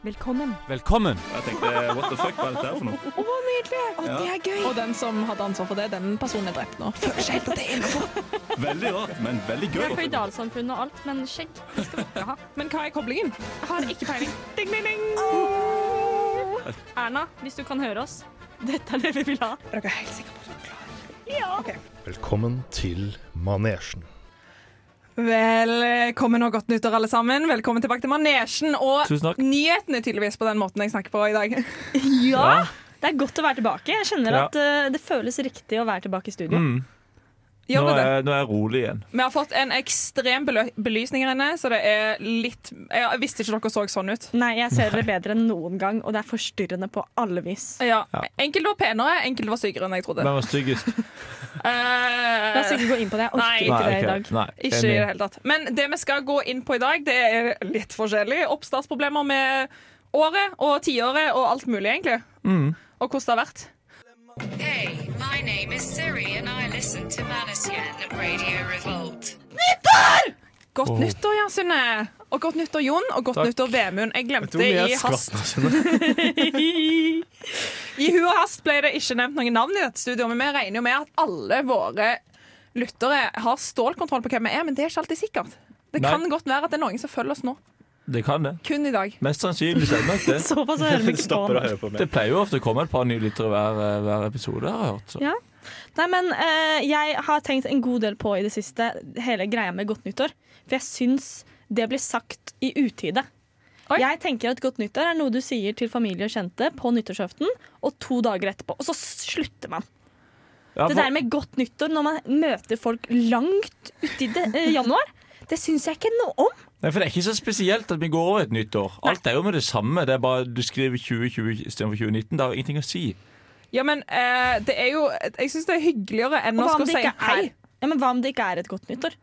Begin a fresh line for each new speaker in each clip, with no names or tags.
Velkommen.
Velkommen!
Og jeg tenkte what the fuck, hva er dette her for noe?
Å, nydelig! Å,
Ja.
Det er gøy.
Og den som hadde ansvar for det, den personen er drept nå.
Veldig rart, men veldig gøy.
Det er føydalsamfunn og alt, men skjegg det skal vi ikke ha.
Men hva er koblingen?
Jeg har ikke peiling. Ding, ding, ding. Erna, hvis du kan høre oss, dette er det vi vil ha.
Dere er helt sikre på at dere klarer
Velkommen til manesjen.
Velkommen og godt nyttår, alle sammen. Velkommen tilbake til manesjen. Og
Tusen takk.
nyhetene, tydeligvis, på den måten jeg snakker på i dag.
Ja.
Ja! Det er godt å være tilbake. Jeg kjenner
Ja.
at eh, det føles riktig å være tilbake i studio.
Mm. Nå,
Gjør vi det?
er, nå er jeg rolig igjen.
Vi har fått en ekstrem belø- belysning her inne, så det er litt Jeg visste ikke dere så sånn ut.
Nei, jeg ser dere bedre enn noen gang, og det er forstyrrende på alle vis.
Ja.
Ja.
Enkelte var penere, enkelte var sykere enn jeg trodde.
Hvem var styggest?
Eh,
La oss ikke gå inn på det. Jeg orker
Nei.
ikke det i
ok.
dag.
Nei,
ikke i det hele tatt. Men det vi skal gå inn på i dag, det er litt forskjellig. Oppstartsproblemer med året og tiåret og alt mulig, egentlig.
Mm.
Og hvordan det har vært.
Hey, my name is Siri and I listen to Manasian Radio Revolt.
Godt
Åh.
nyttår, Jan Sunne. Og godt nyttår, Jon. Og godt
Takk.
nyttår, Vemund. Jeg
Jeg
glemte
tror vi er
i hast.
skvatt, skjønner du.
I hu og hast ble det ikke nevnt noen navn i dette studioet, men vi regner jo med at alle våre lyttere har stålkontroll på hvem vi er, men det er ikke alltid sikkert. Det
Nei.
kan godt være at det er noen som følger oss nå.
Det kan det.
Kun i dag.
Mest sannsynlig så er det nok det.
Såpass hører vi ikke på.
Stopper å høre på
Det pleier jo ofte å komme et par nye lyttere hver, eh, hver episode, har jeg hørt. Så.
Ja. Nei, men eh, jeg har tenkt en god del på i det siste hele greia med godt nyttår. For jeg syns det blir sagt i utide.
Oi.
Jeg tenker at godt nyttår er noe du sier til familie og kjente på nyttårsaften og to dager etterpå. Og så slutter man.
Ja,
Det
for-
der med godt nyttår når man møter folk langt uti det, eh, januar, det syns jeg ikke noe om.
Nei, for Det er ikke så spesielt at vi går over et nytt år. Alt er jo med det samme. Det er bare Du skriver 2020 istedenfor 2019. Det har jo ingenting å si.
Ja, men eh, det er jo Jeg syns det er hyggeligere enn
Og
å
hva om
skulle
det
si
ikke
hei.
er, ja, men hva om det ikke er et godt nyttår?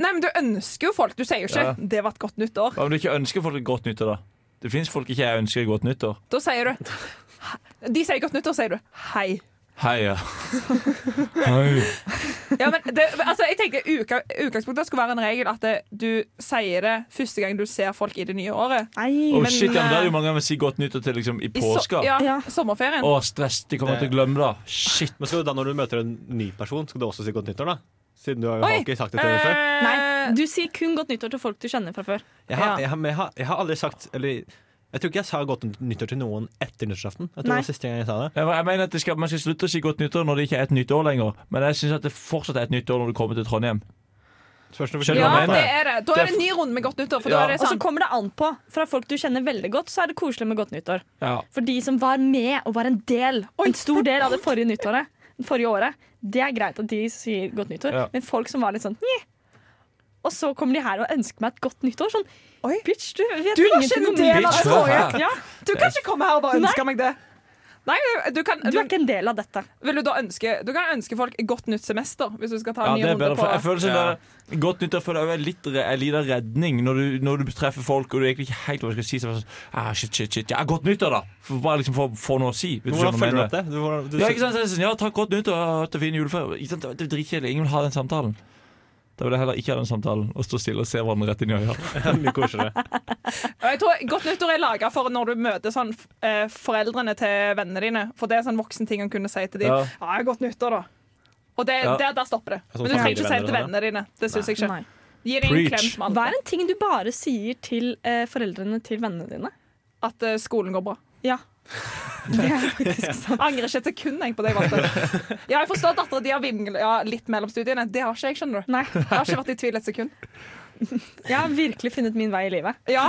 Nei, men du ønsker jo folk. Du sier jo ikke
Ja.
'det var et godt nytt år'.
Hva om du ikke ønsker folk et godt nyttår, da? Det fins folk ikke jeg ønsker et godt nyttår.
Da sier du De sier 'godt nyttår', sier du 'hei'.
Hei, ja. Hei.
Ja, men det, altså, jeg tenker uka, Utgangspunktet skulle være en regel at det, du sier det første gang du ser folk i det nye året.
Nei,
Oh,
Men,
shit, ja, men Da er det
eh,
jo mange ganger å si godt nyttår til liksom, i
I so-
påska.
ja,
Ja.
sommerferien.
Å, stress. De kommer til
Det-
å glemme det. Shit.
Men skal du da når du møter en ny person, skal du også si godt nyttår, da? Siden du har jo
Oi.
har ikke sagt det til henne før.
Eh,
Nei, du sier kun godt nyttår til folk du kjenner fra før.
Jeg har, jeg, har, men jeg, har, jeg har aldri sagt Eller jeg tror ikke jeg sa godt nyttår til noen etter nyttårsaften. Jeg tror
Nei.
det var siste gang jeg sa det.
Jeg, jeg mener at det skal, Man skal slutte å si godt nyttår når det ikke er et nytt år lenger. Men jeg syns det fortsatt er et nytt år når du kommer til Trondheim.
Spørs når vi-
Skjønner du
ja,
hva jeg mener?
det er det. Da er det en ny runde med godt nyttår. For da
Ja.
er det
Og så
sånn
kommer det an på. Fra folk du kjenner veldig godt, så er det koselig med godt nyttår.
Ja.
For de som var med og var en del, en stor del av det forrige nyttåret, det forrige året, det er greit at de sier godt nyttår.
Ja.
Men folk som var litt sånn Njeh. Og så kommer de her og ønsker meg et godt nyttår. Sånn
Oi.
bitch, du vet
Du var
ingenting
ikke en
om
del
det
av det
forrige.
forrige.
Ja,
Du kan ikke komme her og bare ønske meg det. Nei, du kan,
du er ikke en del av dette.
Vil du da ønske Du kan ønske folk godt nytt semester hvis du skal ta
Ja,
en
det er
ny runde
bedre.
på
For jeg føler som det er godt nyttår for det er jo litt re- en liten redning når du, når du treffer folk og du egentlig ikke helt vet hva du skal si. Så er det sånn, ah, shit, shit, shit, ja, Godt nyttår, da! For bare liksom få få noe å si. Vet
Men
du
Hvordan
hva jeg
følger du
mener?
opp det? Du, hvordan, du,
Ja, ikke sant? så er det sånn, ja, takk, godt nyttår. Jeg har hatt en fin juleferie. Ikke sant? Det er dritkjedelig. Ingen vil ha den samtalen. Da vil jeg heller ikke ha den samtalen og stå stille og se hverandre rett inn i øya.
Mye koseligere.
Og jeg tror Godt nyttår er laga for når du møter sånn, f- eh, foreldrene til vennene dine. For det er sånn voksen ting å kunne si til dem. Ja.
Ja.
godt nyttår, da. Og det,
Ja.
der, der stopper det.
Ja, sånn
Men du trenger ikke si det
familievenner
til
og sånn,
vennene dine. Det synes jeg ikke.
Nei.
Gi dem en
Preach.
klem som
Hva er
alle.
en ting du bare sier til eh, foreldrene til vennene dine?
At eh, skolen går bra.
Ja. Det er faktisk sant.
Angrer ikke et sekund jeg på det jeg valgte. Ja, jeg forstår at dattera di har vingla litt mellom studiene. Det har ikke jeg, skjønner du.
Nei.
Jeg har ikke vært i tvil et sekund.
Jeg har virkelig funnet min vei i livet.
Ja.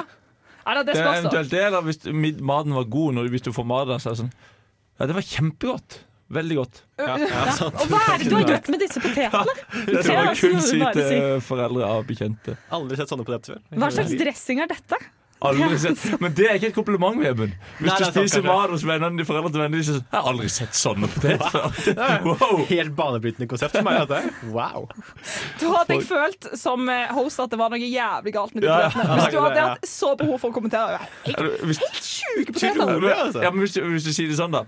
Ja, da,
Det
det
er
spørs, da.
eventuelt det, eller hvis du- mid- maten var god når, du- hvis du får mat der, så er det sånn Ja, det var kjempegodt. Veldig godt.
Ja, ja, sant.
Og hva er det du har gjort med disse potetene?
Det
tror
må
jeg
jeg kun
også
si
bare
til foreldre av bekjente.
Aldri sett sånne på dette før.
Hva slags dressing er dette?
Aldri sett. Men det er ikke et kompliment, Veben. Hvis du
Nei, det er sant,
spiser
kanskje.
mat hos vennene dine, foreldre til vennene dine, så er det sånn, jeg har aldri sett sånne poteter før. Wow.
Helt banebrytende konsept for meg. Dette. Wow.
Da hadde jeg følt som eh, host at det var noe jævlig galt med de
Ja, ja.
billettene. Hvis du hadde hatt så behov for å kommentere.
Er du- Hvis,
Sjuke poteter!
Utrolig, altså.
ja, men hvis, du, hvis du sier det sånn, da.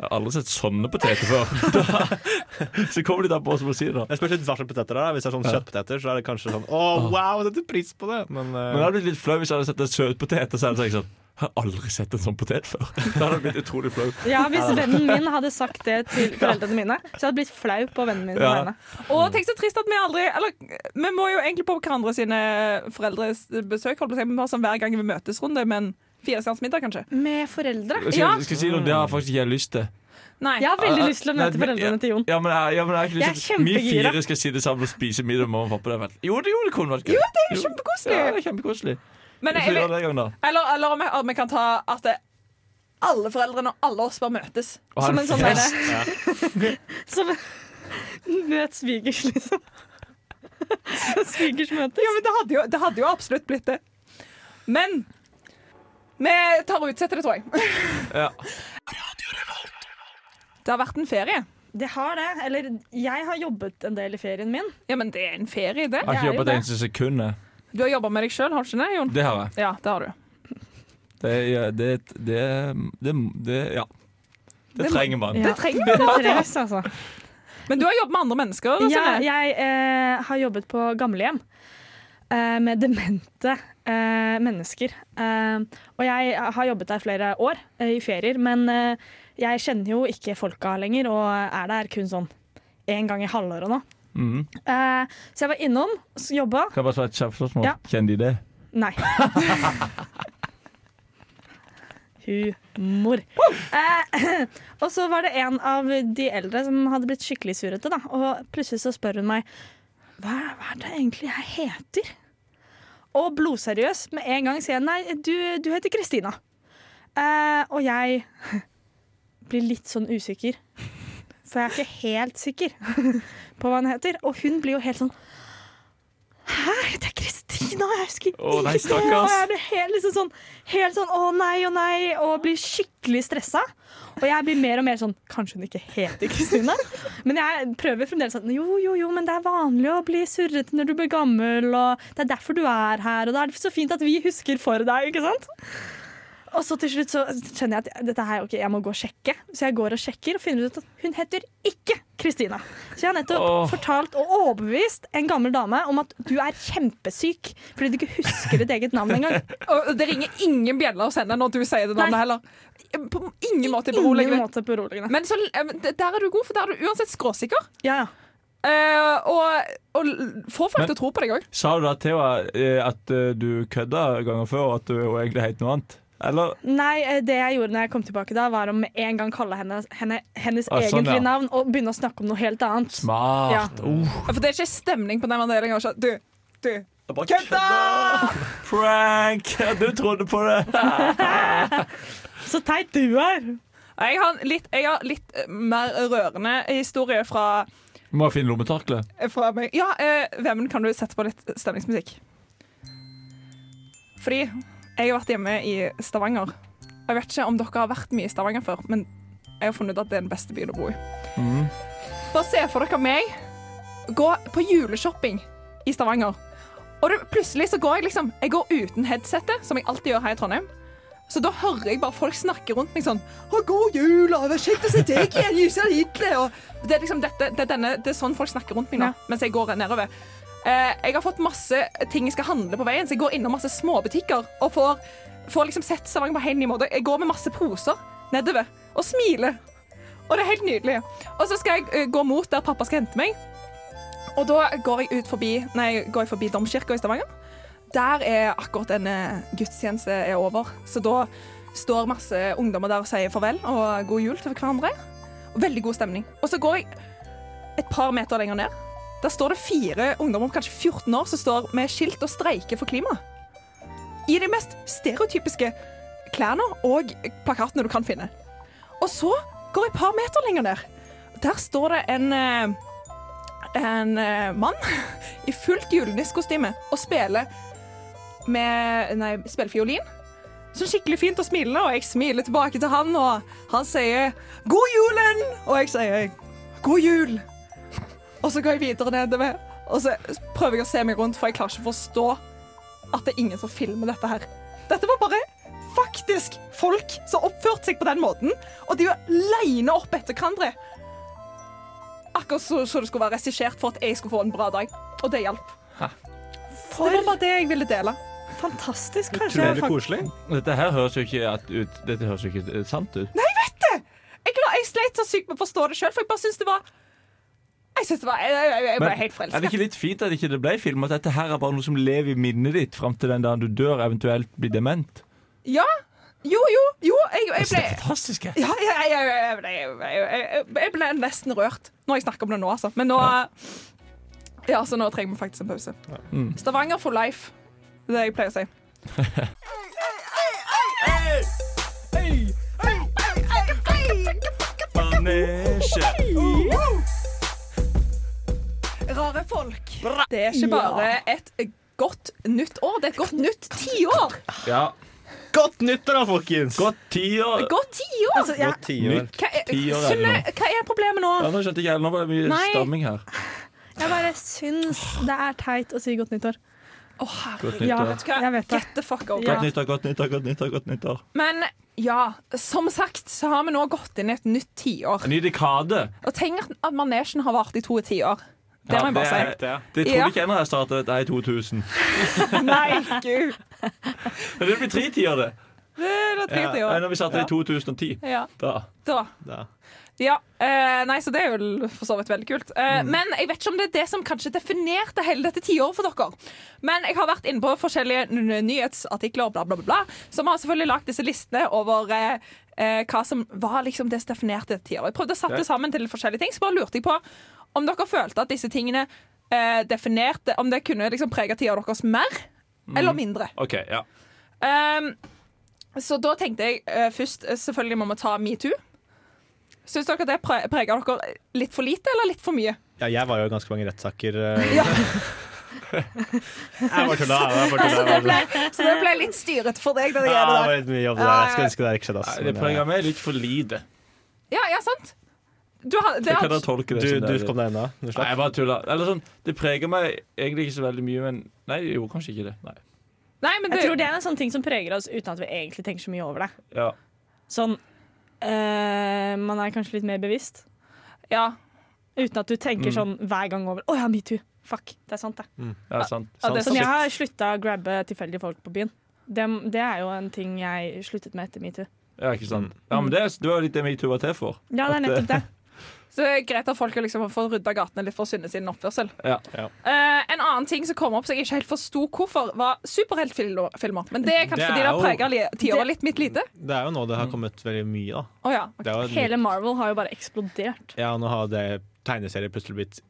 Jeg har aldri sett sånne poteter før. Da, så kommer de der på oss og sier det.
Jeg spørs litt hva slags poteter det er. Hvis det er sånn kjøttpoteter, så er det kanskje sånn Å, wow, setter pris på det! Men, eh,
Men jeg hadde blitt litt flau hvis jeg hadde sett en søtpotet. Og så hadde jeg tenkt sånn Jeg har aldri sett en sånn potet før. Da hadde jeg blitt utrolig flau.
Ja, Hvis vennen min hadde sagt det til foreldrene mine, så hadde jeg blitt flau på vennen min.
Ja.
vegne.
Mm.
Og tenk så trist at vi aldri Eller, vi må jo egentlig på hverandre sine foreldres besøk, holdt på å si. Vi må ha sånn hver gang vi møtes runde, men fire stjerners middag, kanskje.
Med foreldre?
Skal,
Ja.
skal jeg si noe, Det har jeg faktisk ikke lyst til.
Nei.
Jeg har veldig lyst til å
Nei,
møte
men-
foreldrene til Jon.
Ja, men jeg, ja, men jeg har ikke lyst
Jeg er
til at vi
kjempegira.
fire skal sitte sammen og spise middag med mamma og pappa. Det er vel- Jo, det, jo, det kunne vært gøy. Jo, det
er jo kjempekoselig.
Ja, det er kjempekoselig.
Men
Vi får gjøre
eller,
det en gang, da.
eller, eller om, jeg, om jeg kan ta at det, alle foreldrene og alle oss bare møtes.
Og ha
Som
en
en sånn
fest.
der-
Som Møt svigers, liksom. svigers møtes.
Ja, men det hadde, jo, det hadde jo absolutt blitt det. Men vi tar og utsetter det, tror jeg.
Ja.
Det har vært en ferie.
Det har det. Eller jeg har jobbet en del i ferien min.
Ja, men det er en ferie, det.
Jeg har
Det er
ikke
jo
jobbet et
det.
eneste sekund. jeg.
Du har jobba med deg sjøl, har du ikke det, Jon?
Det har jeg.
Ja, det har du.
Det, er- det, det, det, det Ja. Det,
Det må-
trenger man.
Det trenger man av og til.
Stress, altså.
Men du har jobbet med andre mennesker. og
Ja,
sånn.
jeg eh, har jobbet på gamlehjem eh, med demente eh, mennesker. Eh, og jeg har jobbet der flere år eh, i ferier, men eh, jeg kjenner jo ikke folka lenger, og er der kun sånn én gang i halvåret nå.
Mhm.
Eh, så jeg var innom, s- jobba.
Kan jeg bare svare et kjapt spørsmål?
Ja.
Kjenner de det?
Nei. Humor. Eh, og så var det en av de eldre som hadde blitt skikkelig surete, da. Og plutselig så spør hun meg hva, hva er det egentlig jeg heter? Og blodseriøs, med en gang sier jeg nei, du, du heter Kristina. Eh, og jeg blir litt sånn usikker, for jeg er ikke helt sikker på hva hun heter. Og hun blir jo helt sånn Hæ, det er Kristina! Jeg husker
Å, nei,
ikke det!
stakkars.
Og jeg blir helt, liksom sånn, helt sånn å nei, å nei, og blir skikkelig stressa. Og jeg blir mer og mer sånn Kanskje hun ikke heter Kristina? Men jeg prøver fremdeles sånn Jo, jo, jo, men det er vanlig å bli surrete når du blir gammel, og det er derfor du er her, og da er det så fint at vi husker for deg, ikke sant? Og så til slutt så kjenner jeg at dette her, ok, jeg må gå og sjekke. Så jeg går og sjekker og finner ut at hun heter ikke Kristina. Så jeg har nettopp
Åh.
fortalt og overbevist en gammel dame om at du er kjempesyk fordi du ikke husker ditt eget navn engang.
Og det ringer ingen bjeller hos henne når du sier det navnet
Nei.
heller. På ingen måte
Ingen
beroligende.
måte beroligende.
Men så, eh, men der er du god, for der er du uansett skråsikker.
Ja, ja.
Eh, og, og l- får folk
Men-
til å tro på deg òg.
Sa du da, Thea, eh, at eh, du kødda ganger før, og at du hun egentlig het noe annet? Eller
Nei, eh, det jeg gjorde når jeg kom tilbake da, var å med en gang kalle henne, henne hennes
Ah, sånn,
egentlige
ja.
navn og begynne å snakke om noe helt annet.
Smart.
Ja.
Uh.
For det er ikke stemning på den avdelingen. og så, Du, du,
Kødda! Prank! Du trodde på det.
Så teit du er!
Jeg har en litt, jeg har litt eh, mer rørende historie fra,
Må jeg finne lommetørkle?
fra meg. Ja, eh, Vemund, kan du sette på litt stemningsmusikk? Fordi jeg har vært hjemme i Stavanger. Jeg vet ikke om dere har vært mye i Stavanger før, men jeg har funnet ut at det er den beste byen å bo i.
Mhm.
Bare se for dere meg gå på juleshopping i Stavanger. Og det, plutselig så går jeg liksom Jeg går uten headsetet, som jeg alltid gjør her i Trondheim. Så da hører jeg bare folk snakke rundt meg sånn Å, god jul, og det er kjekt å se deg igjen, Jussi Hitler. Og det er liksom dette, det er, denne, det er sånn folk snakker rundt meg nå,
Ja.
mens jeg går nedover. Eh, jeg har fått masse ting jeg skal handle på veien, så jeg går innom masse småbutikker og får, får liksom sett Stavanger på en helt ny måte. Jeg går med masse poser nedover og smiler. Og det er helt nydelig. Og så skal jeg eh, gå mot der pappa skal hente meg. Og da går jeg, ut forbi, nei, går jeg forbi domkirka i Stavanger. Der er akkurat en eh, gudstjeneste er over. Så da står masse ungdommer der og sier farvel og god jul til hverandre. Veldig god stemning. Og så går jeg et par meter lenger ned. Der står det fire ungdommer, kanskje 14 år, som står med skilt og streiker for klima. I de mest stereotypiske klærne og plakatene du kan finne. Og så går jeg et par meter lenger ned. Der står det en, eh, en eh, mann i fullt julenisskostyme og spiller med Nei, spiller fiolin. Så skikkelig fint og smilende, og jeg smiler tilbake til han, og han sier 'God julen!' Og jeg sier 'God jul'. Og så går jeg videre nedover, og så prøver jeg å se meg rundt, for jeg klarer ikke å forstå at det er ingen som filmer dette her. Dette var bare faktisk folk som oppførte seg på den måten, og de var leina opp etter hverandre. Akkurat så, så det skulle være regissert for at jeg skulle få en bra dag. Og det hjalp. Så Det var bare det jeg ville dele.
Fantastisk. Kanskje jeg
Utrolig
fakt-
koselig.
Dette her høres jo ikke at, ut Dette høres jo ikke eh, sant ut.
Jeg, la, jeg sleit så sykt med å forstå det sjøl, for jeg bare syns det var Jeg synes det var, jeg, jeg, jeg ble
Men
helt
Er det
forelska.
ikke litt fint at ikke det ble film? At dette her er bare noe som lever i minnet ditt fram til den dagen du dør, eventuelt blir dement?
Ja. Jo, jo, jo. Jeg, jeg
Det
ble
er fantastisk. jeg.
Ja, jeg, jeg, jeg, jeg, ble- jeg, jeg, jeg ble nesten rørt når jeg snakker om det nå, altså. Men nå Ja, så nå trenger vi faktisk en pause. Stavanger for life. Det er det jeg pleier å si.
Manesje.
Rare folk. Det er ikke bare et godt nytt år, det er et godt nytt tiår.
Ja.
Godt nyttår, da, folkens!
Godt tiår.
Godt tiår!
Altså, jeg,
tiår.
Hva er,
tiår er det
Sunne,
nå.
hva er problemet nå?
Ja, nå skjønte jeg ikke helt. Nå var det mye
Nei.
stamming her.
jeg bare syns det er teit å si godt nyttår.
Å,
Godt
herregud.
nyttår.
Ja. Jeg vet det.
Get the fuck over.
Godt nyttår, godt nyttår, godt nyttår. godt nyttår
Men ja, som sagt så har vi nå gått inn i et nytt tiår.
En ny dekade.
Og tenk at- at manesjen har vart i to tiår. Det
Ja,
må jeg bare si.
det- Det trodde
Ja.
ikke jeg når jeg startet dette her i 2000.
Nei, gud.
Men det blir tre tiår, det.
Det er det
Ja,
tredje
Nei,
år.
når vi startet i 2010.
Ja,
Da.
da.
Da.
Ja, eh, nei, så det er jo for så vidt veldig kult. Eh, Men jeg vet ikke om det er det som kanskje definerte hele dette tiåret for dere. Men jeg har vært inne på forskjellige n- n- nyhetsartikler og bla, bla, bla, bla, som har selvfølgelig lagt disse listene over eh, eh, hva som var liksom det som definerte dette tiåret. Jeg prøvde å sette det sammen til forskjellige ting, så bare lurte jeg på om dere følte at disse tingene eh, definerte Om det kunne liksom prege tiåret deres mer eller mindre.
OK, ja.
Ehm, så da tenkte jeg eh, først eh, selvfølgelig må vi ta metoo. Syns dere det pre preger dere litt for lite eller litt for mye?
Ja, jeg var jo i ganske mange rettssaker. eh.
Ja.
jeg bare tulla.
Så
Jeg bare tulla.
Altså, det ble, så det ble litt styrete for deg. Det
Ja, det var
der.
litt mye jobb
Ja,
der.
ja,
Jeg
ja.
skulle ønske det ikke skjedde. ass.
Nei, det
Men, eh,
preger meg litt for lite.
Ja, ja, sant? Du har, det
Jeg kan
har,
da tolke det
Du,
som det
du
er.
kom deg unna. Du
Nei,
slapp.
jeg bare tuller. Eller sånn, det preger meg egentlig ikke så veldig mye, men Nei, jo, kanskje ikke det. Nei.
nei, men
Jeg tror
det,
det er en sånn ting som preger oss uten at vi egentlig tenker så mye over det.
Ja.
Sånn eh, Man er kanskje litt mer bevisst.
ja,
Uten at du tenker sånn hver gang over Å ja, metoo. Fuck. Det er sant, det.
ja sant.
ja, det er
Som jeg
sant.
har slutta å grabbe tilfeldige folk på byen. Det, det er jo en ting jeg sluttet med etter metoo.
Ja, ikke sant. Ja, men det, er- det var jo litt det metoo var til for.
Ja, det er nettopp det.
Så det er greit at folk liksom får rydda gatene litt for å synne sin oppførsel.
Ja.
Eh, en annen ting som kom opp som jeg ikke helt forsto hvorfor, var superheltfilmer. Men det er kanskje
Det er
fordi det
jo-
preger li- tiåret litt mitt lite.
Det er jo nå det har kommet veldig mye, da.
Å ja.
Det er jo et
Hele Marvel har jo bare eksplodert.
Ja, nå har det tegneserier plutselig blitt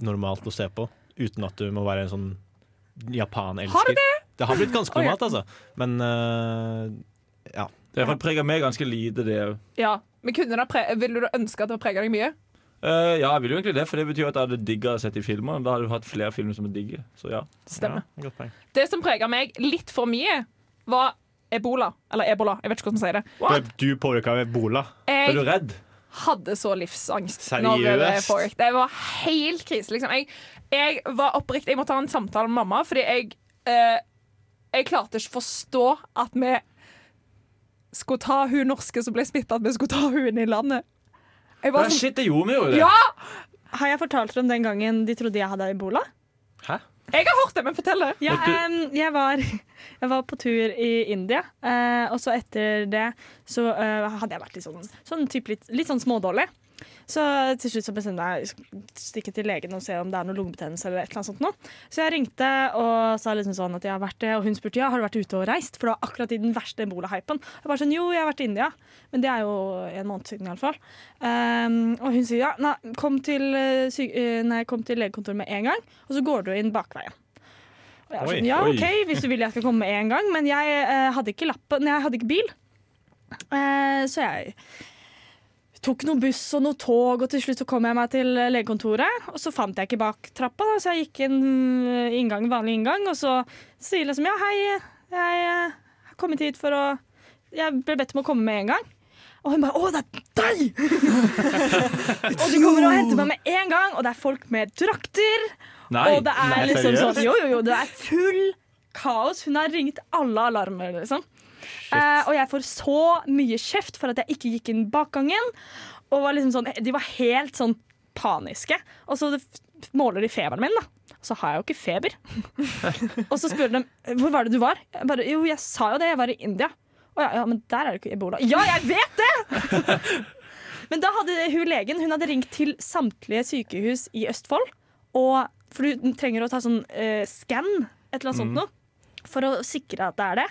normalt å se på, uten at du må være en sånn japanelsker.
Har det
Det har blitt ganske
Å, ja.
normalt, altså. Men øh,
Det har preget meg ganske lite, det òg.
ja. Men kunne det pre Ville du ønske at det prega deg mye?
Eh, ja, jeg vil jo egentlig det, for det betyr jo at jeg hadde digga å sett i filmer. Da hadde du hatt flere filmer som er digge. Så ja.
Stemmer.
ja, godt poeng.
Det som preget meg litt for mye, var ebola. Eller ebola, jeg vet ikke hvordan man sier det.
Ble Du påvirka av ebola.
Er du
Jeg
redd?
hadde så livsangst.
Seriøst?
når Det pågikk. Det var helt krise, liksom. Jeg, jeg var oppriktig Jeg måtte ha en samtale med mamma, fordi jeg eh, Jeg klarte ikke forstå at vi skulle ta hun norske som ble smitta, at vi skulle ta hun inn i landet. Jeg
Ja,
var sånn,
shit, det gjorde vi jo! det
ja!
Har jeg fortalt dere om den gangen de trodde jeg hadde ebola?
Jeg har hørt det, men fortell det.
Ja,
Vet du-
em, jeg, var, jeg var på tur i India, eh, og så etter det så eh, hadde jeg vært litt sånn, sånn typ litt, litt sånn smådårlig. Så til slutt så bestemte jeg å stikke til legen og se om det er noe lungebetennelse eller et eller annet sånt noe. Så jeg ringte og sa liksom sånn at jeg har vært det, og hun spurte ja, har du vært ute og reist? For det var akkurat i den verste ebola-hypen. Jeg bare sånn jo, jeg har vært i India, men det er jo en måned siden iallfall. Um, og hun sier ja, nei, kom til, eh, syk- eh, nei, kom til legekontoret med en gang, og så går du inn bakveien. Og jeg var
Oi,
sånn, ja,
oi.
OK, hvis du vil jeg skal komme med en gang, men jeg eh, hadde ikke lappen, jeg hadde ikke bil. Eh, så jeg tok noen buss og noe tog, og til slutt så kom jeg meg til eh, legekontoret. Og så fant jeg ikke bak trappa, da, så jeg gikk en eh, inngang, vanlig inngang. Og så sier jeg liksom ja, hei, jeg eh, har kommet hit for å Jeg ble bedt om å komme med en gang. Og hun bare 'Å, det er deg!' og de kommer og henter meg med en gang, og det er folk med drakter.
Nei,
og det er
nei,
liksom
seriøst?
sånn Jo, jo, jo, det er full kaos. Hun har ringt alle alarmer, liksom. Eh, og jeg får så mye kjeft for at jeg ikke gikk inn bakgangen. Og var liksom sånn, de var helt sånn paniske. Og så f- måler de feberen min, da. Og så har jeg jo ikke feber. og så spør de hvor var det du var. Jeg bare, jo, jeg sa jo det, jeg var i India. Å ja, ja, men der er det ikke ebola. Ja, jeg vet det! men da hadde hun legen hun hadde ringt til samtlige sykehus i Østfold. Og, for du trenger å ta sånn eh, skann, et eller annet
Mm.
sånt noe, for å sikre at det er det.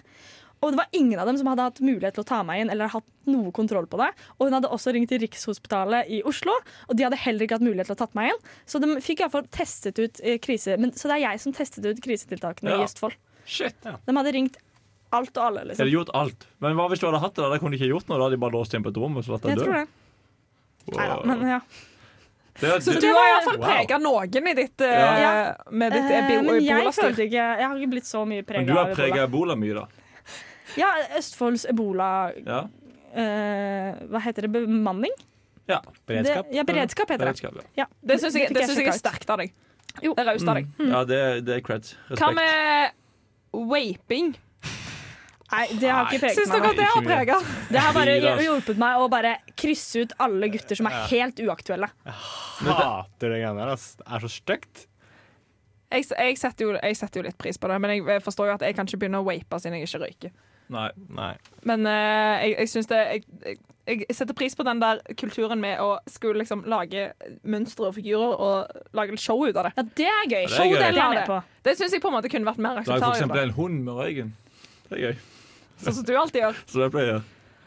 Og det var ingen av dem som hadde hatt mulighet til å ta meg inn eller hatt noe kontroll på det. Og hun hadde også ringt til Rikshospitalet i Oslo, og de hadde heller ikke hatt mulighet til å tatt meg inn. Så de fikk iallfall testet ut eh, krise... Men, så det er jeg som testet ut krisetiltakene
Ja.
i Østfold.
Shit. Ja.
De hadde ringt alt og alle,
Jeg
liksom.
hadde gjort alt. Men hva hvis du hadde hatt det? der? Da kunne de ikke gjort noe. Da hadde de bare låst igjen på et rom. Og så vært
Jeg
død.
tror det. Neida, men ja.
Det er-
Så
det-
du har iallfall
Wow.
prega noen i ditt, eh,
Ja.
med ditt
Eh,
ebi-
men jeg
ebolastyr.
følte ikke Jeg har ikke blitt så mye prega
Men du har prega ebola mye, da.
Ja, Østfolds ebola
Ja.
eh, Hva heter det? Bemanning?
ja.
Beredskap.
Det, ja, beredskap heter det.
Beredskap, ja.
Ja.
Det syns jeg,
fikk
det synes jeg er
sjekket ut.
sterkt av deg.
Jo.
Det er raust av deg.
Mm. ja det, det er creds.
Hva
Respekt.
med vaping?
Nei, det har ikke preget
Syns
meg.
dere at det har
Ikke mye.
prega?
Det har bare
Videre.
hjulpet meg å bare krysse ut alle gutter som er helt uaktuelle.
Hater det greiene der, ass. Det er så stygt.
Jeg, s- jeg, setter jo, jeg setter jo litt pris på det, men jeg forstår jo at jeg kan ikke begynne å vape siden jeg ikke røyker.
Nei.
Nei.
Men eh, jeg, jeg syns det jeg, jeg, jeg setter pris på den der kulturen med å skulle liksom lage mønstre og figurer og lage litt show ut av det.
Ja, det er gøy.
det er gøy.
Showdelen
Det er
av det.
med på. Det syns jeg på en måte kunne vært mer
Lag for eksempel
akseptabelt.
en hund med røyken. Det er gøy.
Sånn som du alltid gjør.
Så det pleier jeg.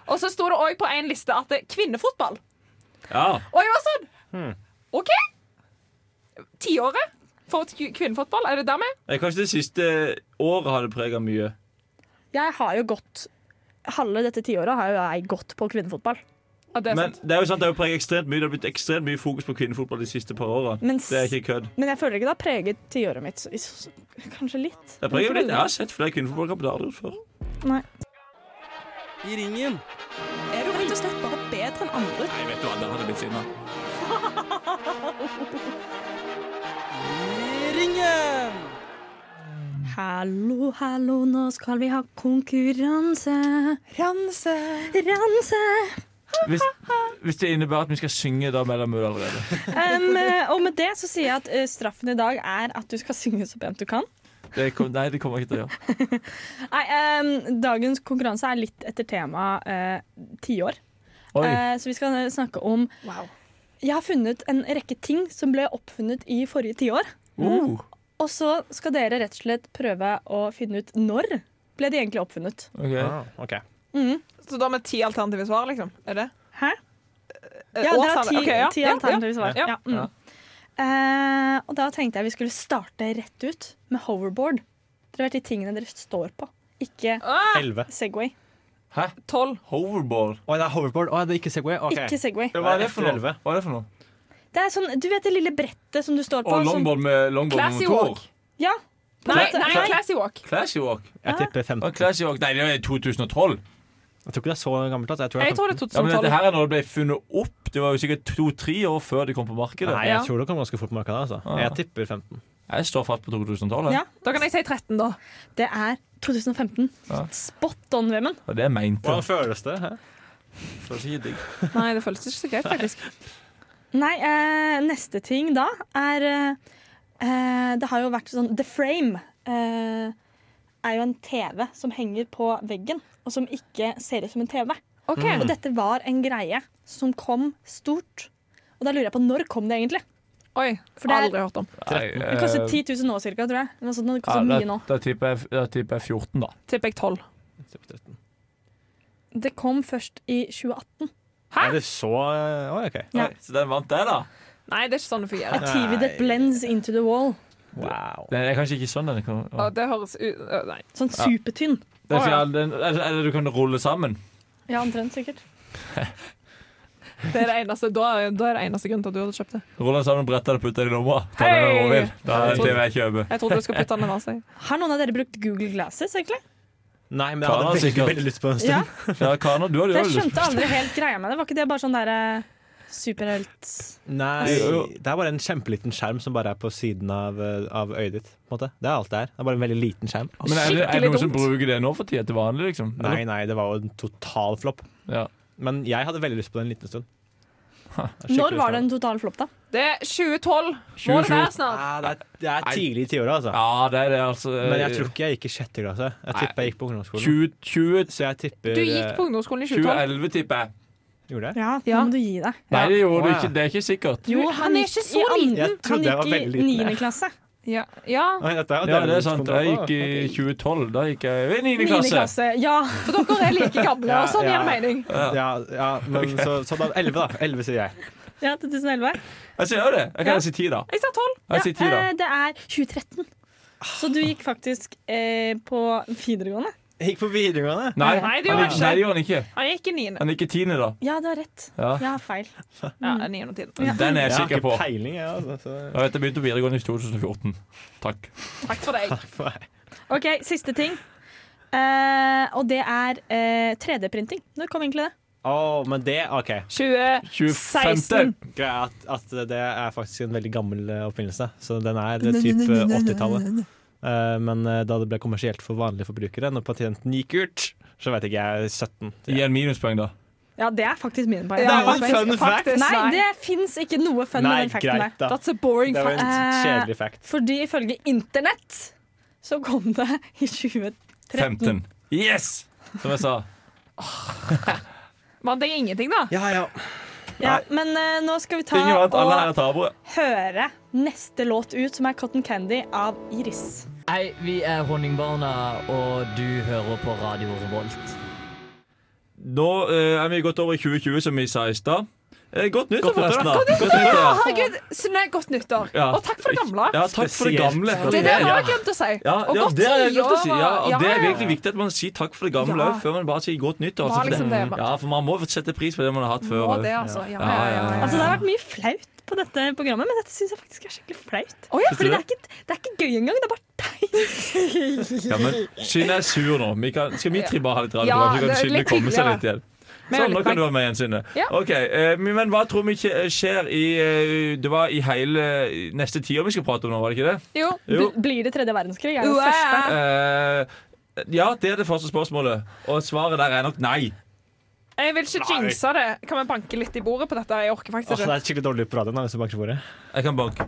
Og så sto det òg på en liste at det er kvinnefotball.
Ja.
Og jeg var sånn
Hmm.
OK! Tiåret for kvi- kvinnefotball, er det dermed?
Eh, Kanskje det siste året har det prega mye.
Jeg har jo gått Halve dette tiåret har jo jeg gått på kvinnefotball.
Ja, det er
Men
sant.
det er jo sant, det har jo preget ekstremt mye. Det har blitt ekstremt mye fokus på kvinnefotball de siste par åra.
Men s-
Det er ikke kødd.
Men jeg føler ikke det har preget tiåret mitt. så- så- Kanskje litt.
Det preger jo litt. Jeg har sett flere kvinnefotballkamper. Det har jeg aldri gjort før.
Nei.
Er du rett og slett bare bedre enn andre?
Nei, vet du hva, der hadde jeg blitt sinna.
Hallo, hallo, nå skal vi ha konkurranse.
Ranse.
Ranse!
Hvis, hvis det innebærer at vi skal synge da mellom øl allerede.
Em, eh, og med det så sier jeg at eh, straffen i dag er at du skal synge så pent du kan.
Det kom, nei, det kommer jeg ikke til å gjøre.
Nei, em, dagens konkurranse er litt etter temaet eh, tiår.
Oi.
Eh, så vi skal eh, snakke om Jeg har funnet en rekke ting som ble oppfunnet i forrige tiår.
Uh,
Og så skal dere rett og slett prøve å finne ut når ble de egentlig oppfunnet. Mm.
ok.
Ah, OK.
Så da med ti alternative svar, liksom? Er det?
Hæ?
Eh,
Ja, dere har
årstallet.
ti,
Ok, ja.
ti
Ja, ja.
alternative svar.
Ja.
Ja. mm. Eh, og da tenkte jeg vi skulle starte rett ut med hoverboard. Dere vet de tingene dere står på, ikke
Ah,
Elleve.
Segway.
Hæ?
Tolv.
Hoverboard?
Å, det er hoverboard. Å, det er ikke Segway. OK.
Ikke Segway.
Hva er det for noe?
Elleve.
Hva er det for noe?
Det er sånn, Du vet det lille brettet som du står på?
Og
som-
longboard med longboard med
sånn Classy
motor?
walk.
ja, på en
Nei,
måte.
nei, Classy Walk.
Classy walk?
Jeg tipper 15.
Å, classy walk. Nei, det er 2012.
Jeg tror ikke det er så gammelt. ass. Jeg tror det
Jeg
er
tror det er
Ja, men dette
2012.
her er når det ble funnet opp. Det var jo sikkert to-tre år før det kom på markedet.
Nei,
Ja.
jeg tror det kom ganske fort på markedet. Altså.
Ah.
Jeg tipper 15.
Jeg står fast på 2012.
Ja.
Ja.
Da kan jeg si 13, da.
Det er 2015.
Ja.
Spot on, Vemund.
Og det er meint.
Hvordan føles det? Hæ?
For å si det.
Nei, det føltes ikke så greit, faktisk.
Nei, eh, neste ting da er eh, eh, Det har jo vært sånn The Frame eh, er jo en TV som henger på veggen, og som ikke ser ut som en TV.
OK.
Og dette var en greie som kom stort. Og da lurer jeg på når kom det egentlig?
Oi.
For det er-
Aldri hørt om.
Det koster 10 000 nå cirka, tror jeg. Noe sånt, det koster mye nå.
eh, Da tipper jeg, da tipper jeg 14, da.
Tipper jeg 12.
Jeg tipper 13.
Det kom først i 2018.
Hæ?
Er det så eh, Oi, OK.
Ja.
Oi, Så den vant jeg, da?
Nei, det er ikke sånn det fungerer.
A TV that blends into the wall.
Wow.
Den er kanskje ikke sånn. Den, kan,
Å,
å.
det høres ut Å, Nei.
Sånn supertynn.
den,
Å, ja.
skal- den, eller, eller du kan rulle sammen.
Ja, omtrent sikkert.
Det er det eneste, da, da er det eneste grunnen til at du hadde kjøpt det.
Rulle den sammen, brette den og putte den i lomma. Ta
Hei!
den med overvill. Da er det
Jeg
TV jeg kjøper.
Jeg trodde du skulle putte den i vasen.
Har noen av dere brukt Google Glasses, egentlig?
Nei, men jeg
Klara
hadde
har
veldig,
sikkert-
veldig lyst på en stund.
Ja,
Ja, Kana, du hadde
for
jo
jeg
lyst.
skjønte aldri helt greia med det. Var ikke det bare sånn derre Superhelt.
Nei,
Jo.
det er bare en kjempeliten skjerm som bare er på siden av, eh, av øyet ditt. På en måte. Det er alt det er. Det er bare en veldig liten skjerm.
Ah, Men er det, er det
Skikkelig
noen som
dumt.
bruker det nå for tida til vanlig, liksom?
Nei, nei, det var jo en total flopp.
Ja.
Men jeg hadde veldig lyst på det en liten stund.
Når var det en total flopp, da?
Det er 2012. Må det være snart?
Ja, Ah, det, er, det er tidlig i tiåra, altså.
ja, det er det, altså. eh,
Men jeg tror ikke jeg gikk i sjette klasse. Jeg
Nei.
tipper jeg gikk på ungdomsskolen.
20, 20,
Så jeg tipper
Du
eh,
gikk på ungdomsskolen i 2012.
2011, tipper jeg.
Gjorde jeg?
Ja,
Ja.
nå må du gi deg.
Nei, det gjorde
Å,
du
ja.
ikke. Det er ikke sikkert.
Jo,
han er
gikk
ikke så
i an-
liten.
Jeg trodde jeg var
Han gikk
veldig
i
liten,
niende klasse.
Ja. ja.
Oi, dette er jo
Ja, det er
delvis
sant.
kontroll,
Jeg
da.
gikk i 2012. Da gikk jeg i 9.
Niende
klasse.
klasse. Ja.
For dere er like gamle,
Ja,
og sånn
ja.
gir det mening.
Ja, ja men så, så da 11, da. 11 sier jeg.
ja, 2011.
Jeg sier jo det. Jeg
Ja.
kan si 10, da.
Jeg sa 12.
Jeg sier 10, da.
Eh, det er 2013. Så du gikk faktisk eh, på videregående?
Jeg gikk på videregående.
Nei,
Nei, det
han gikk-
gjorde han ikke.
nei, det gjorde han ikke.
Han gikk i 9.
Han gikk i 10., da.
Ja, du har rett.
Ja.
Jeg har feil.
Ja, 9. og 10.
Den er jeg
har
sikker
ikke
på.
peiling, jeg. Altså,
Jeg
så.
vet, jeg begynte på videregående i 2014. Takk.
Takk for deg.
Takk for meg.
OK, siste ting. Eh, og det er eh, 3D-printing. Når kom egentlig det?
Å, men det OK.
20.
25.
Greia er at, at det er faktisk en veldig gammel eh, oppfinnelse. Så den er eh, typ eh, 80-tallet. Eh, Men eh, da det ble kommersielt for vanlige forbrukere, når patenten gikk ut, så vet ikke jeg 17.
Gi en minuspoeng, da.
Ja, det er faktisk min poeng.
Ja,
Det var en
faktisk-
fun fact.
faktisk,
Nei, det fins ikke noe fun
Nei,
med den facten
greit,
der.
da.
That's a boring
Det var
fact.
en
Eh,
kjedelig fact.
Fordi ifølge internett så kom det i 2013.
15. Yes! Som jeg sa.
Men det er ingenting, da.
Ja, ja.
Ja, men eh, nå skal vi ta
Ingen vant. Alle her
og
er tapere.
høre neste låt ut, som er 'Cotton Candy' av Iris.
Hei, vi er Honningbarna, og du hører på Radio Revolt.
Nå eh, er vi gått over i 2020, som vi sa i stad. Eh, Godt nyttår,
nyttår,
forresten. da. Godt nyttår.
Herregud, Snø, godt nyttår.
Ja.
Og takk for det gamle.
Ja, takk for det
Spesielt.
gamle.
Det der har
ja.
jeg glemt å si.
Ja,
og
ja,
godt
det er godt å si. Ja,
nyttår.
og det er
Ja.
virkelig viktig at man sier takk for det gamle
Ja.
òg, før man bare sier godt nyttår.
Bare
altså, for
liksom
det-
det, bare.
Ja, for man må sette pris på det man har hatt før.
Må
også.
det, altså.
Ja,
Ja, ja, ja,
ja,
ja.
ja.
Altså, det har vært mye flaut på dette programmet, men dette syns jeg faktisk er skikkelig flaut.
Å, ja.
Fordi det er, ikke, det er ikke gøy engang. Det er bare teit.
Ja, men Synne er sur nå. Vi kan, skal vi tre bare ha litt radio?
Ja,
så
det
kan
er
Synne
litt
komme seg
hyggeligere.
litt igjen.
Men
Sånn, nå
litt
kan du være med igjen, Synne.
Ja.
Ok, eh, Men hva tror vi skje- skjer i eh, Det var i hele neste tiår vi skal prate om nå, var det ikke det?
Jo.
Jo.
Bl- Blir det tredje verdenskrig? Er det
Wow.
første?
Eh, ja, det er det første spørsmålet. Og svaret der er nok nei.
Jeg vil ikke jinxe det. Kan vi banke litt i bordet på dette? Jeg orker faktisk
Altså, det
ikke.
er skikkelig dårlig på radioen. da, hvis du banker på bordet.
Jeg kan banke.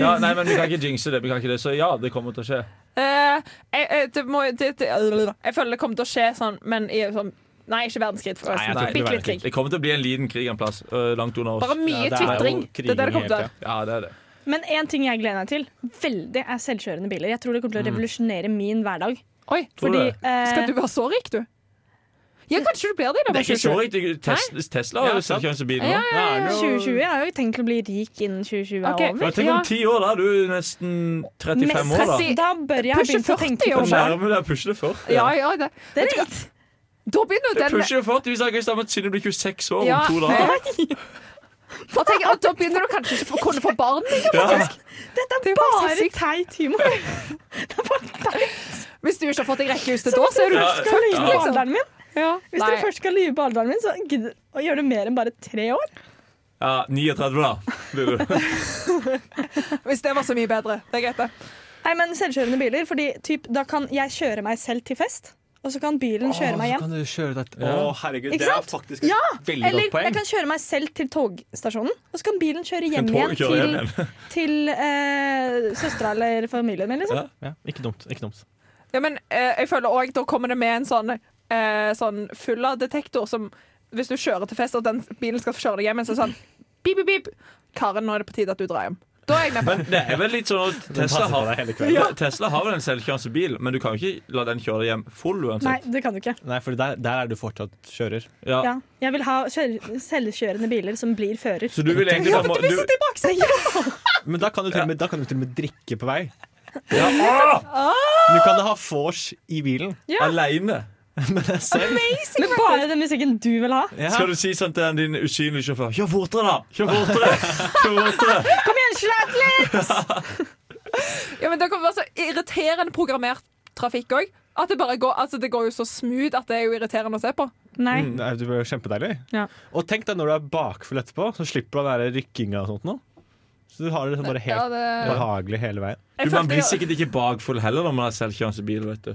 Ja, nei, men vi kan ikke jinxe det. Vi kan ikke det. Så ja, det kommer til å skje.
Eh, jeg, jeg, det må, det, det, jeg føler det kommer til å skje sånn, men i, sånn Nei, ikke verdenskrig. forresten.
Nei, jeg tror
Bitte
ikke det blir
litt krig.
Det kommer til å bli en liten krig en plass. øh, langt under oss.
Bare mye
Ja, det er jo
tvitring. Det er det det
kriging
kommer til å
hele
være.
Ja, det er det.
Men én ting jeg gleder meg til veldig, er selvkjørende biler. Jeg tror det kommer til å revolusjonere min hverdag.
Oi,
Tror du
Fordi,
det?
eh,
Skal du være så rik, du? Ja, kanskje du blir det. Da,
Det er ikke så riktig. Tes Tesla har
Ja,
jo
sant.
selvkjøringsbil
Ja,
nå.
ja, ja.
2020 Jeg har jo tenkt å bli rik innen 2020 er
Ok.
over.
Ja, tenk om ti år, da. er Du er nesten 35 år, da.
Nest-
Da bør jeg
Pushe
begynne å
40
tenke på
år.
det.
Nærmer deg pusle 40.
Ja, ja, det.
Det er riktig.
Da begynner jo den
Pusle 40 hvis jeg kan stemme at Synne blir 26 år
Ja.
om to dager.
Da, tenker, jeg at da begynner du kanskje ikke å få- kunne få barn. liksom. lenger.
Ja.
Dette
Det er
er
jo
bare
faktisk sykt.
teit humor. Det er bare teit.
Hvis du ikke har fått deg rekkehus til da, så er du
Ja.
Hvis dere skal lyve
fucked,
på
liksom.
alderen min,
Ja.
Hvis
Nei.
dere først skal lyve på alderen min, så gidd å gjøre det mer enn bare tre år.
ja, 39, da. Blir du.
Hvis det var så mye bedre. Det er greit, det.
Nei, men Selvkjørende biler, fordi typ, da kan jeg kjøre meg selv til fest, og så kan bilen kjøre meg hjem.
Kan du kjøre dette? Å,
Ja.
herregud,
Ikke
det er
sant?
faktisk
Ja,
et veldig
Eller
godt poeng.
jeg kan kjøre meg selv til togstasjonen, og så kan bilen kjøre hjem
Kan
igjen
toget kjøre
til,
hjem igjen?
til eh, søstera eller familien min. Liksom.
Ja.
Ja, ikke dumt. ikke dumt.
Ja, men eh, jeg føler også, Da kommer det med en sånn, eh, sånn fulla-detektor som Hvis du kjører til fest, og den bilen skal kjøre deg hjem, så er det sånn Bip, bip, bip. Karen, nå er det på tide at du drar hjem. Da er jeg med på
Men det er vel litt sånn at
Den
Tesla
passer på
har
deg hele kvelden.
Tesla har vel en selvkjørende bil, men du kan jo ikke la den kjøre deg hjem full
Nei,
uansett.
det kan du ikke.
Nei, for der, der er du fortsatt kjører.
Ja.
Ja. Jeg vil ha kjør selvkjørende biler som blir fører.
Så du vil egentlig bare må- du,
Men da kan du til og med, da kan du til og med drikke på vei.
ja, ah!
Du kan ha vors i bilen.
Aleine.
Selv.
Men bare den musikken du vil ha.
Ja.
Skal du si sånn til din usynlige sjåfør Kjør fortere, da! Kjør fortere! Kjør fortere!
Kom igjen, slapp litt!
Ja, men Det kommer til å være så irriterende programmert trafikk òg. At det bare går, altså det går jo så smooth at det er jo irriterende å se på.
Nei.
Mm, nei, det blir kjempedeilig.
Ja.
Og tenk deg når du er bakfull etterpå, så slipper du den der rykkinga og sånt nå. Så du har det liksom bare
Ja,
helt
det,
behagelig hele veien.
Du, man
jeg følte
blir
jeg,
sikkert ikke bakfull heller når man har selvkjøringsbil, vet du.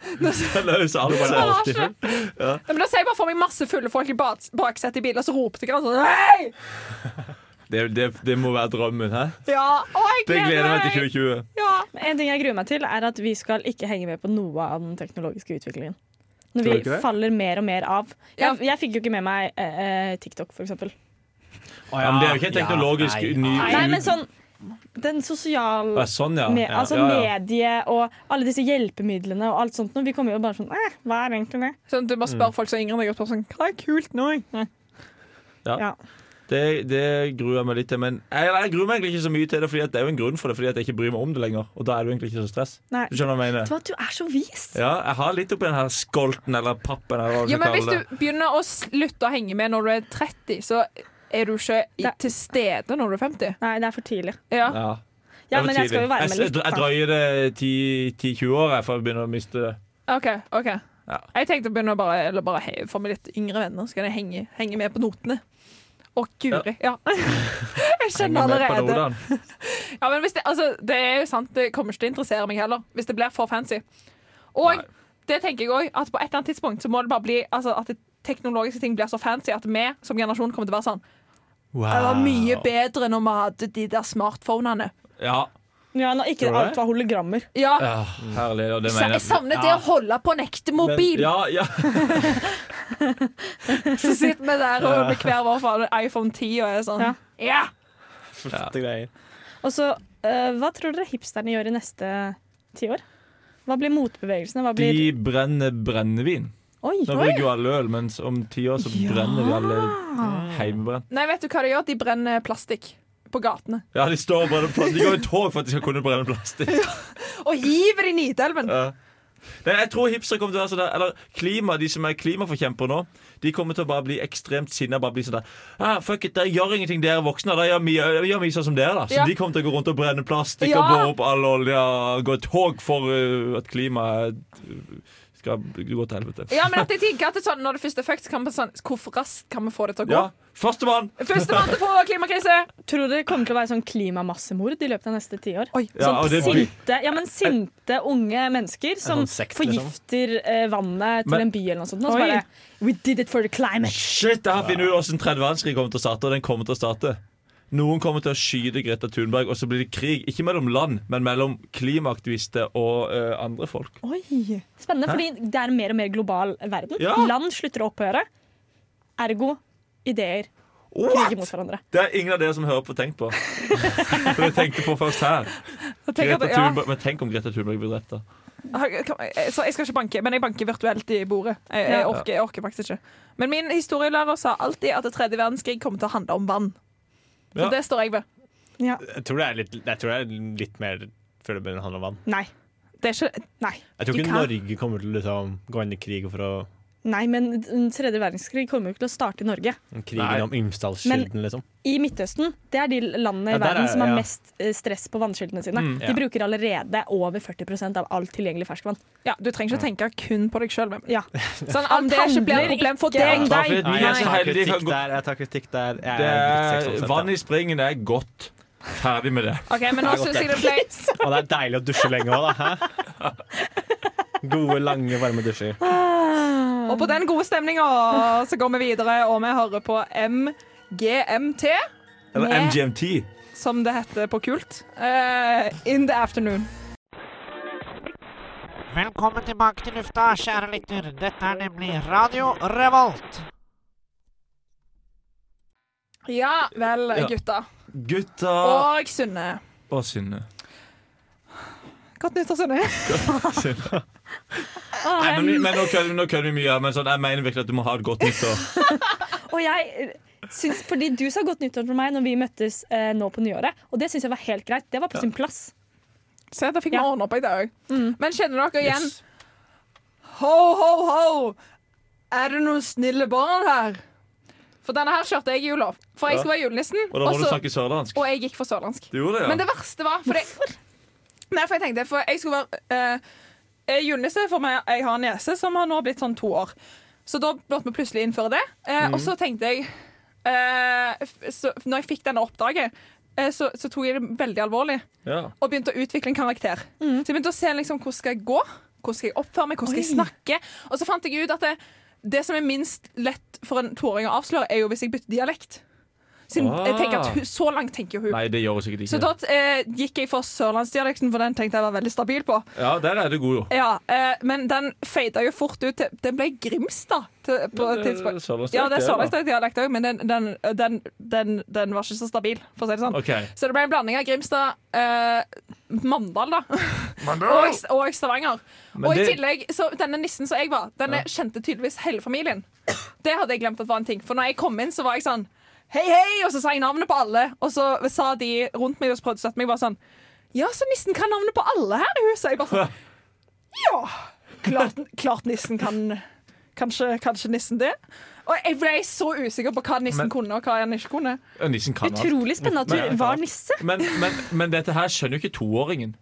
Det løser alt
Det er
seg.
alltid full.
Nei, men da ser jeg bare for meg masse fulle folk i bak, baksetet i bilen, og så ropte jeg sånn Hei!
Det, det, det må være drømmen, hæ?
Ja, å, jeg
Det gleder jeg
gleder
meg til 2020.
Ja.
En ting jeg gruer meg til, er at vi skal ikke henge med på noe av den teknologiske utviklingen. Når
Tror du
vi
ikke det?
faller mer og mer av.
Ja.
Jeg, jeg fikk jo ikke med meg eh, eh, TikTok, for eksempel.
Ja, men det er jo ikke en teknologisk
Ja,
ny
Nei, men sånn Den sosiale
Ja, Sånn, ja.
med,
ja.
Altså
ja, ja.
medie og alle disse hjelpemidlene og alt sånt. nå. vi kommer jo bare sånn eh, Hva er egentlig det?
Sånn, du må
Mm.
spørre folk som er yngre enn deg, og spørre sånn Hva er kult nå?
Det, det gruer jeg meg litt til. Men jeg, jeg gruer meg egentlig ikke så mye til det, Fordi at det er jo en grunn for det, fordi at jeg ikke bryr meg om det lenger. Og da er det jo egentlig ikke så stress.
Nei.
Du skjønner hva jeg mener?
Du, du er så vis!
Ja, jeg har litt oppi den her skolten eller pappen eller hva du
Ja, men
skal
hvis
kalle det.
du begynner å slutte å henge med når du er 30, så er du ikke i,
Det-
til stede når du er 50.
Nei, det er for tidlig.
Ja.
Ja.
Ja,
Det er for
men jeg skal jo
tidlig.
være med
Jeg,
litt.
jeg, jeg
da.
drøyer det 10 10-20 år jeg, for jeg begynner å miste det.
OK. ok
Ja.
Jeg tenkte å begynne å bare, eller bare he, få meg litt yngre venner, så kan jeg henge, henge med på notene. Å, guri. Ja. jeg skjønner
Henger med på
allerede.
Nordland.
Ja, men hvis det, altså, det er jo sant, det kommer ikke til å interessere meg heller, hvis det blir for fancy. Og
Nei.
det tenker jeg òg, at på et eller annet tidspunkt så må det bare bli altså, at det teknologiske ting blir så fancy at vi som generasjon kommer til å være sånn Det var mye
Ah.
bedre når vi hadde de der smartphonene.
Ja.
Ja, når ikke
Tror du det?
alt var hologrammer.
Ja.
ja. Herlig. Og det
Så
mener
jeg savner det
Ja.
å holde på en ekte mobil!
Ja, ja.
Så sitter vi der og med hver vår faen iPhone 10 og er sånn
Ja.
Ja!
Flotte greier.
Og så, eh, hva tror dere hipsterne gjør i neste tiår? Hva blir motbevegelsene? Hva blir
De brenner brennevin.
Oi!
Nå bruker jo alle øl, mens om ti år så brenner de alle heimebrent.
Nei, vet du hva de gjør? De brenner plastikk på gatene.
Ja, de står og brenner plastikk. De går i tog for at de skal kunne brenne plastikk.
Og hiver det i Nidelven!
Ja. Nei, jeg tror hipstere kommer til å være sånn der Eller klima, de som er klimaforkjempere nå, de kommer til å bare bli ekstremt sinna. Bare bli sånn der ah, Fuck it, dere gjør ingenting, dere voksne. Dere gjør mye, gjør mye sånn som dere, da. Så
Ja.
de kommer til å gå rundt og brenne plastikk
Ja.
og bore opp all olja og gå i tog for uh, at klimaet uh, skal gå til helvete.
Ja, men at jeg tenker at det er sånn, Når det først er fucked, så kan man sånn Hvor raskt kan vi få det til å gå?
Ja. Førstemann!
Førstemann til å få klimakrise!
Tror dere det kommer til å være sånn klimamassemord i løpet av neste tiår?
Oi, sånn.
Ja, og det-
Sinte, ja, men sinte unge mennesker som
sånn sekt,
forgifter eh, vannet til
liksom. Men-
en by eller noe sånt. Og
Oi.
så bare We did it for the climate!
Shit, jeg har funnet ut hvordan tredje verdenskrig kommer til å starte. Og den kommer til å starte Noen kommer til å skyte Greta Thunberg, og så blir det krig. Ikke mellom land, men mellom klimaaktivister og eh, andre folk.
Oi. Spennende, fordi det er en mer og mer global verden.
Ja.
Land slutter å opphøre. Ergo ideer
What?
kriger mot hverandre.
Det er ingen av dere som hører på, tenkt på. For jeg tenkte på først her.
Så tenker
Greta
jeg at- ja.
Thunberg, men tenk om Greta Thunberg blir drept, da.
eh, Så jeg skal ikke banke, men jeg banker virtuelt i bordet. Jeg, jeg,
Ja.
orker, jeg orker faktisk ikke. Men min historielærer sa alltid at det tredje verdenskrig kommer til å handle om vann. Så
Ja.
det står jeg ved.
Jeg tror det er litt, jeg tror det er litt mer før det begynner å handle om vann.
Nei.
Det er ikke,
Nei.
Jeg tror
Du
ikke
kan-
Norge kommer til å liksom, gå inn i krig for å
Nei, men den tredje verdenskrig kommer jo ikke til å starte i Norge.
Krigen
Nei.
om Imsdalskilden, liksom.
I Midtøsten det er de landene i
Ja, der
verden
er-
som har
ja.
mest eh, stress på vannkildene sine.
Mm.
De bruker allerede over 40 av alt tilgjengelig ferskvann.
ja, du trenger ikke tenke kun på deg sjøl.
Ja.
Sånn, om det ikke blir et problem for deg,
Handler ikke
deg.
om deg.
Nei, jeg er så
tar
heldig.
kritikk der. Jeg tar kritikk der. Jeg
Det
er
er,
litt sexy sånn
vann
sett,
i springen er godt. Ferdig med det.
OK, men nå syns jeg det ble
ja. Og det er deilig å dusje lenge òg, da. Hæ? Gode, lange, varme dusjer.
Og på den gode stemninga så går vi videre, og vi hører på MGMT,
Eller
Nei.
MGMT.
som det heter på kult. eh, in the afternoon.
Velkommen tilbake til lufta, kjære lytter. Dette er nemlig Radio Revolt.
Ja vel,
Ja.
gutta.
Gutta
Og Sunne.
og Synne.
Godt nyttår, Sunne.
Nei, men, men nå kødder vi- nå kødder vi mye, men sånn, jeg mener virkelig at du må ha et godt nyttår.
Og jeg eh, syns, fordi du sa godt nyttår for meg når vi møttes eh, nå på nyåret, og det syns jeg var helt greit. Det var på sin plass.
Se, da fikk vi
Ja.
ordna opp i det òg. Men kjenner dere igjen
Yes.
Ho, ho, ho! Er det noen snille barn her? For denne her kjørte jeg i jula. For jeg
Ja.
skulle være julenissen,
Og da må
og
du
så-
snakke sørlandsk.
og jeg gikk for sørlandsk.
Du gjorde det, ja.
Men det verste var fordi, Nei, for jeg eh, tenkte For jeg skulle være uh, Julnisse for meg Jeg har en niese som har nå blitt sånn to år Så da måtte vi plutselig innføre det. Eh,
Mm.
Og så tenkte jeg eh, f- så, Når jeg fikk denne oppdraget, eh, så, så tok jeg det veldig alvorlig
Ja.
og begynte å utvikle en karakter. Så jeg begynte å se liksom, hvor skal jeg gå, hvor skal jeg oppføre meg, hvor skal jeg snakke. Og så fant jeg ut at det, det som er minst lett for en toåring å avsløre, er jo hvis jeg bytter dialekt. Siden jeg tenker at hun, Så langt tenker jo hun.
Ah. Nei, det gjør hun sikkert
Så
ikke.
da eh, gikk jeg for sørlandsdialekten, for den tenkte jeg var veldig stabil på.
Ja, der er du god, jo.
Ja, eh, Men den fada jo fort ut. til- Den ble Grimstad til, på
Det
et
er
tidspunkt.
sørlandsdialekt,
Ja, det er
da.
sørlandsdialekt òg, men den, den, den, den, den var ikke så stabil, for å si det sånn.
OK.
Så det ble en blanding av Grimstad, eh, Mandal da, og, og Stavanger.
Men
og i
det-
tillegg, så denne nissen som jeg var, den kjente tydeligvis hele familien. Det hadde jeg glemt at var en ting. For når jeg kom inn, så var jeg sånn Hei, hei! Og så sa jeg navnet på alle. Og så sa de rundt meg og som prøvde å støtte meg, bare sånn Ja, så nissen kan navnet på alle her i huset. Jeg bare sånn Ja! Klart, klart nissen kan Kanskje, kanskje nissen det? Og jeg ble så usikker på hva nissen
Men-
kunne, og hva han ikke kunne.
Ja, Nissen kan alt.
Utrolig spennende at
Men-
du var nisse.
Men, men, men dette her skjønner jo ikke toåringen.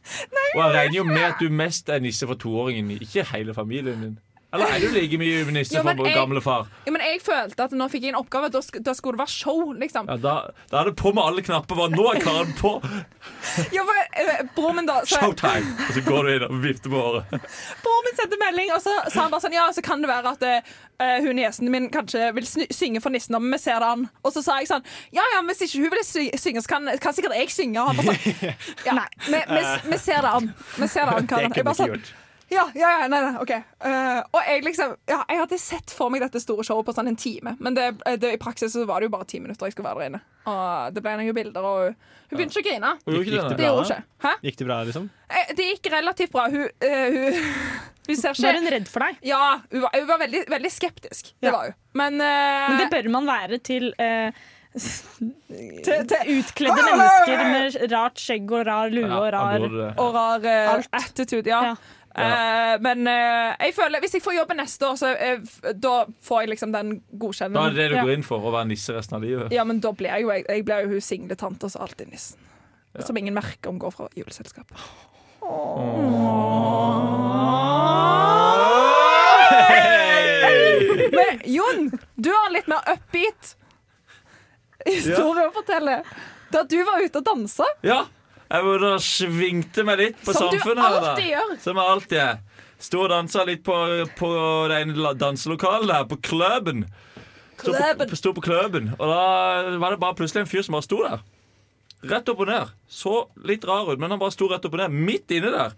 Og jeg regner jo med at du mest er nisse for toåringen, ikke hele familien din. Eller er du like mye nisse
Jo,
for
men
vår
jeg-
gamle far?
Ja, men jeg følte at når jeg fikk inn oppgave, da, sk da skulle det være show, liksom.
Ja, da, da er det på med alle knapper. Bare nå er karen på!
Ja, for, eh, broren min da, så,
Showtime! Og så går du inn og vifter på håret.
broren min sendte melding, og så sa han bare sånn, ja, så kan det være at eh, hun niesen min kanskje vil sny- synge for nissen, men vi ser det an. Og så sa jeg sånn, ja, ja, men hvis ikke hun vil sy synge, så kan, kan sikkert jeg synge. Og han bare sånn, ja, nei, vi, vi, vi ser det an. Vi ser det an, Karen. Jeg bare sånn, Ja, ja, ja, nei, nei, ok. Eh, og jeg liksom, ja, jeg hadde sett for meg dette store showet på sånn en time, men det, det, i praksis så var det jo bare ti minutter jeg skulle være der inne. Og det ble noen bilder, og hun, hun begynte ikke å grine.
Hun gjorde
Gikk
ikke det,
det
nei.
Det gjorde hun ikke. Hæ?
Gikk det bra, liksom?
Eh, Det gikk relativt bra. Hun, eh, hun, hun ser
Var
ikke
hun redd for deg?
Ja, hun var, hun var veldig, veldig skeptisk. Det
Ja.
var hun. Men,
Men
eh,
det bør man være til eh,
til, til
utkledde mennesker med rart skjegg og rar lue og
Ja, han
rar
burde det.
og rar eh,
Alt.
attitude, ja.
Ja.
Eh, men eh, jeg føler hvis jeg får jobbe neste år, så eh, f- da får jeg liksom den
Da er
godkjenningen.
det det du
Ja.
går inn for, å være nisse resten av livet.
Ja, men da blir jeg jo jeg, jeg blir jo hun single tante og så alltid nissen. Som ingen merker om går fra juleselskap. Men Jon, du har en litt mer upbeat historie å fortelle. Da du var ute og dansa,
Ja, jeg burde ha svingte meg litt på
som du
samfunnet. her, da.
alltid gjør.
Som jeg alltid er. Sto og dansa litt på, på det ene la- danselokalet der, på klubben. Sto
Klubben.
på, sto på klubben. Og da var det bare plutselig en fyr som bare sto der. Rett opp og ned. Så litt rar ut, men han bare sto rett opp og ned, midt inne der.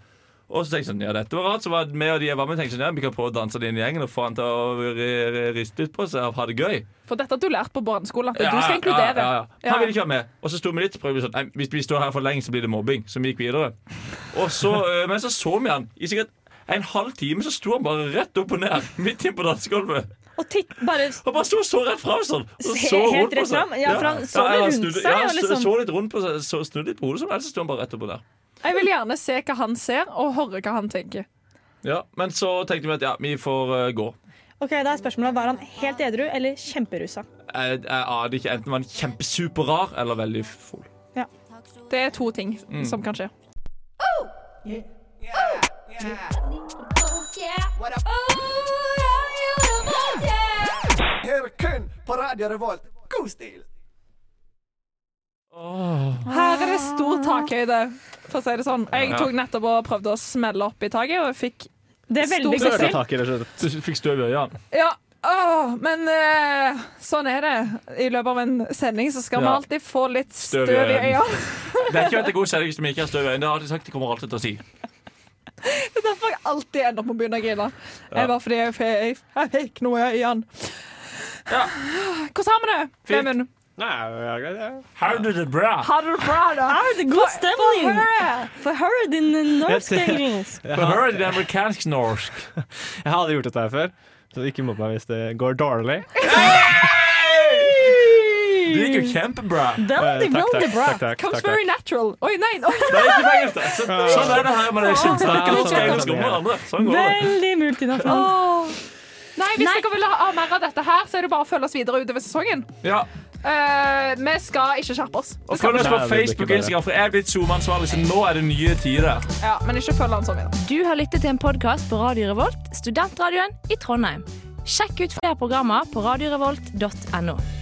Og så tenkte jeg sånn, ja dette var rart, så var det meg og de jeg var med tenkte sånn, ja, vi kan prøve å danse det inn i gjengen og få han til å ri- ri- riste litt på seg og ha det gøy.
For dette har du lært på barneskolen. At
Ja,
du skal inkludere.
Ja, ja, ja. Han ville ikke være med. Og så sto vi litt prøvde vi sånn, nei, Hvis vi står her for lenge, så blir det mobbing. Så vi gikk videre. Og så, øh, men så så vi han i sikkert en halv time, så sto han bare rett opp og ned midt inne på dansegulvet.
Og titt, bare
Han bare sto og så rett fram sånn. Og så
He-
rundt
helt
på
rett
seg.
fram? Ja, for han så
Ja,
vel rundt
snudde-
seg,
Ja,
og
han
liksom-
så litt rundt på seg, så snudde litt på hodet, sånn, ellers så sto han bare rett opp og ned.
Jeg vil gjerne se hva han ser, og høre hva han tenker.
Ja, men så tenkte vi at ja, vi får øh, gå.
Ok, Da er spørsmålet var han helt edru eller kjemperusa.
Jeg, jeg aner ikke. Enten var han kjempesuperrar eller veldig full.
Det er to ting
Mm.
som kan skje. Her er det stor takhøyde, for å si det sånn. Jeg
Ja.
tok nettopp og prøvde å smelle opp i taket, og jeg fikk
Det er veldig godt
Stor
Ta
suksess.
til.
tak i det, skjønner du.
Du fikk støv i øynene.
Ja, åh, men eh, sånn er det. I løpet av en sending så skal
Ja.
man alltid få litt
Støv i
støv i
øynene.
øynene.
Det er ikke at det er god sending hvis vi ikke har støv i øynene. Det har jeg alltid sagt. Det kommer alltid til å si.
Det er derfor jeg alltid ender opp med å begynne å grine. Det er bare fordi jeg, fe- jeg, jeg fikk noe i øynene.
Ja.
Hvordan har vi det?
Fint.
Vemund?
Nei, ja, ja, ja.
How do the bra?
Har du det bra, da?
Ah, God stemning! For her er din norsk
Jeg ser-
engelsk.
Jeg
For
har-
her er det amerikansk norsk.
jeg har aldri gjort dette her før, så ikke mobb meg hvis det går dårlig.
Det gikk jo kjempebra.
Eh,
Veldig,
takk,
veldig
takk,
bra.
takk, takk,
Comes
takk,
very
takk.
natural. Oi, nei! Oi,
Det er ikke feil. det. Så- Sånn er det her med det kjensnakker og engelsk om hverandre. Sånn går det.
Veldig multinasjonal.
åh. Nei, Hvis dere vil ha ha mer av dette her, så er det bare å følge oss videre utover sesongen.
Ja.
Eh, vi skal ikke skjerpe oss.
Og følg oss på Facebook og Instagram, for jeg er blitt SoMe-ansvarlig, så nå er det nye tider.
Ja, men ikke følg han sånn videre.
Du har lyttet til en podkast på Radio Revolt, studentradioen i Trondheim.
Sjekk ut flere programmer på radiorevolt.no.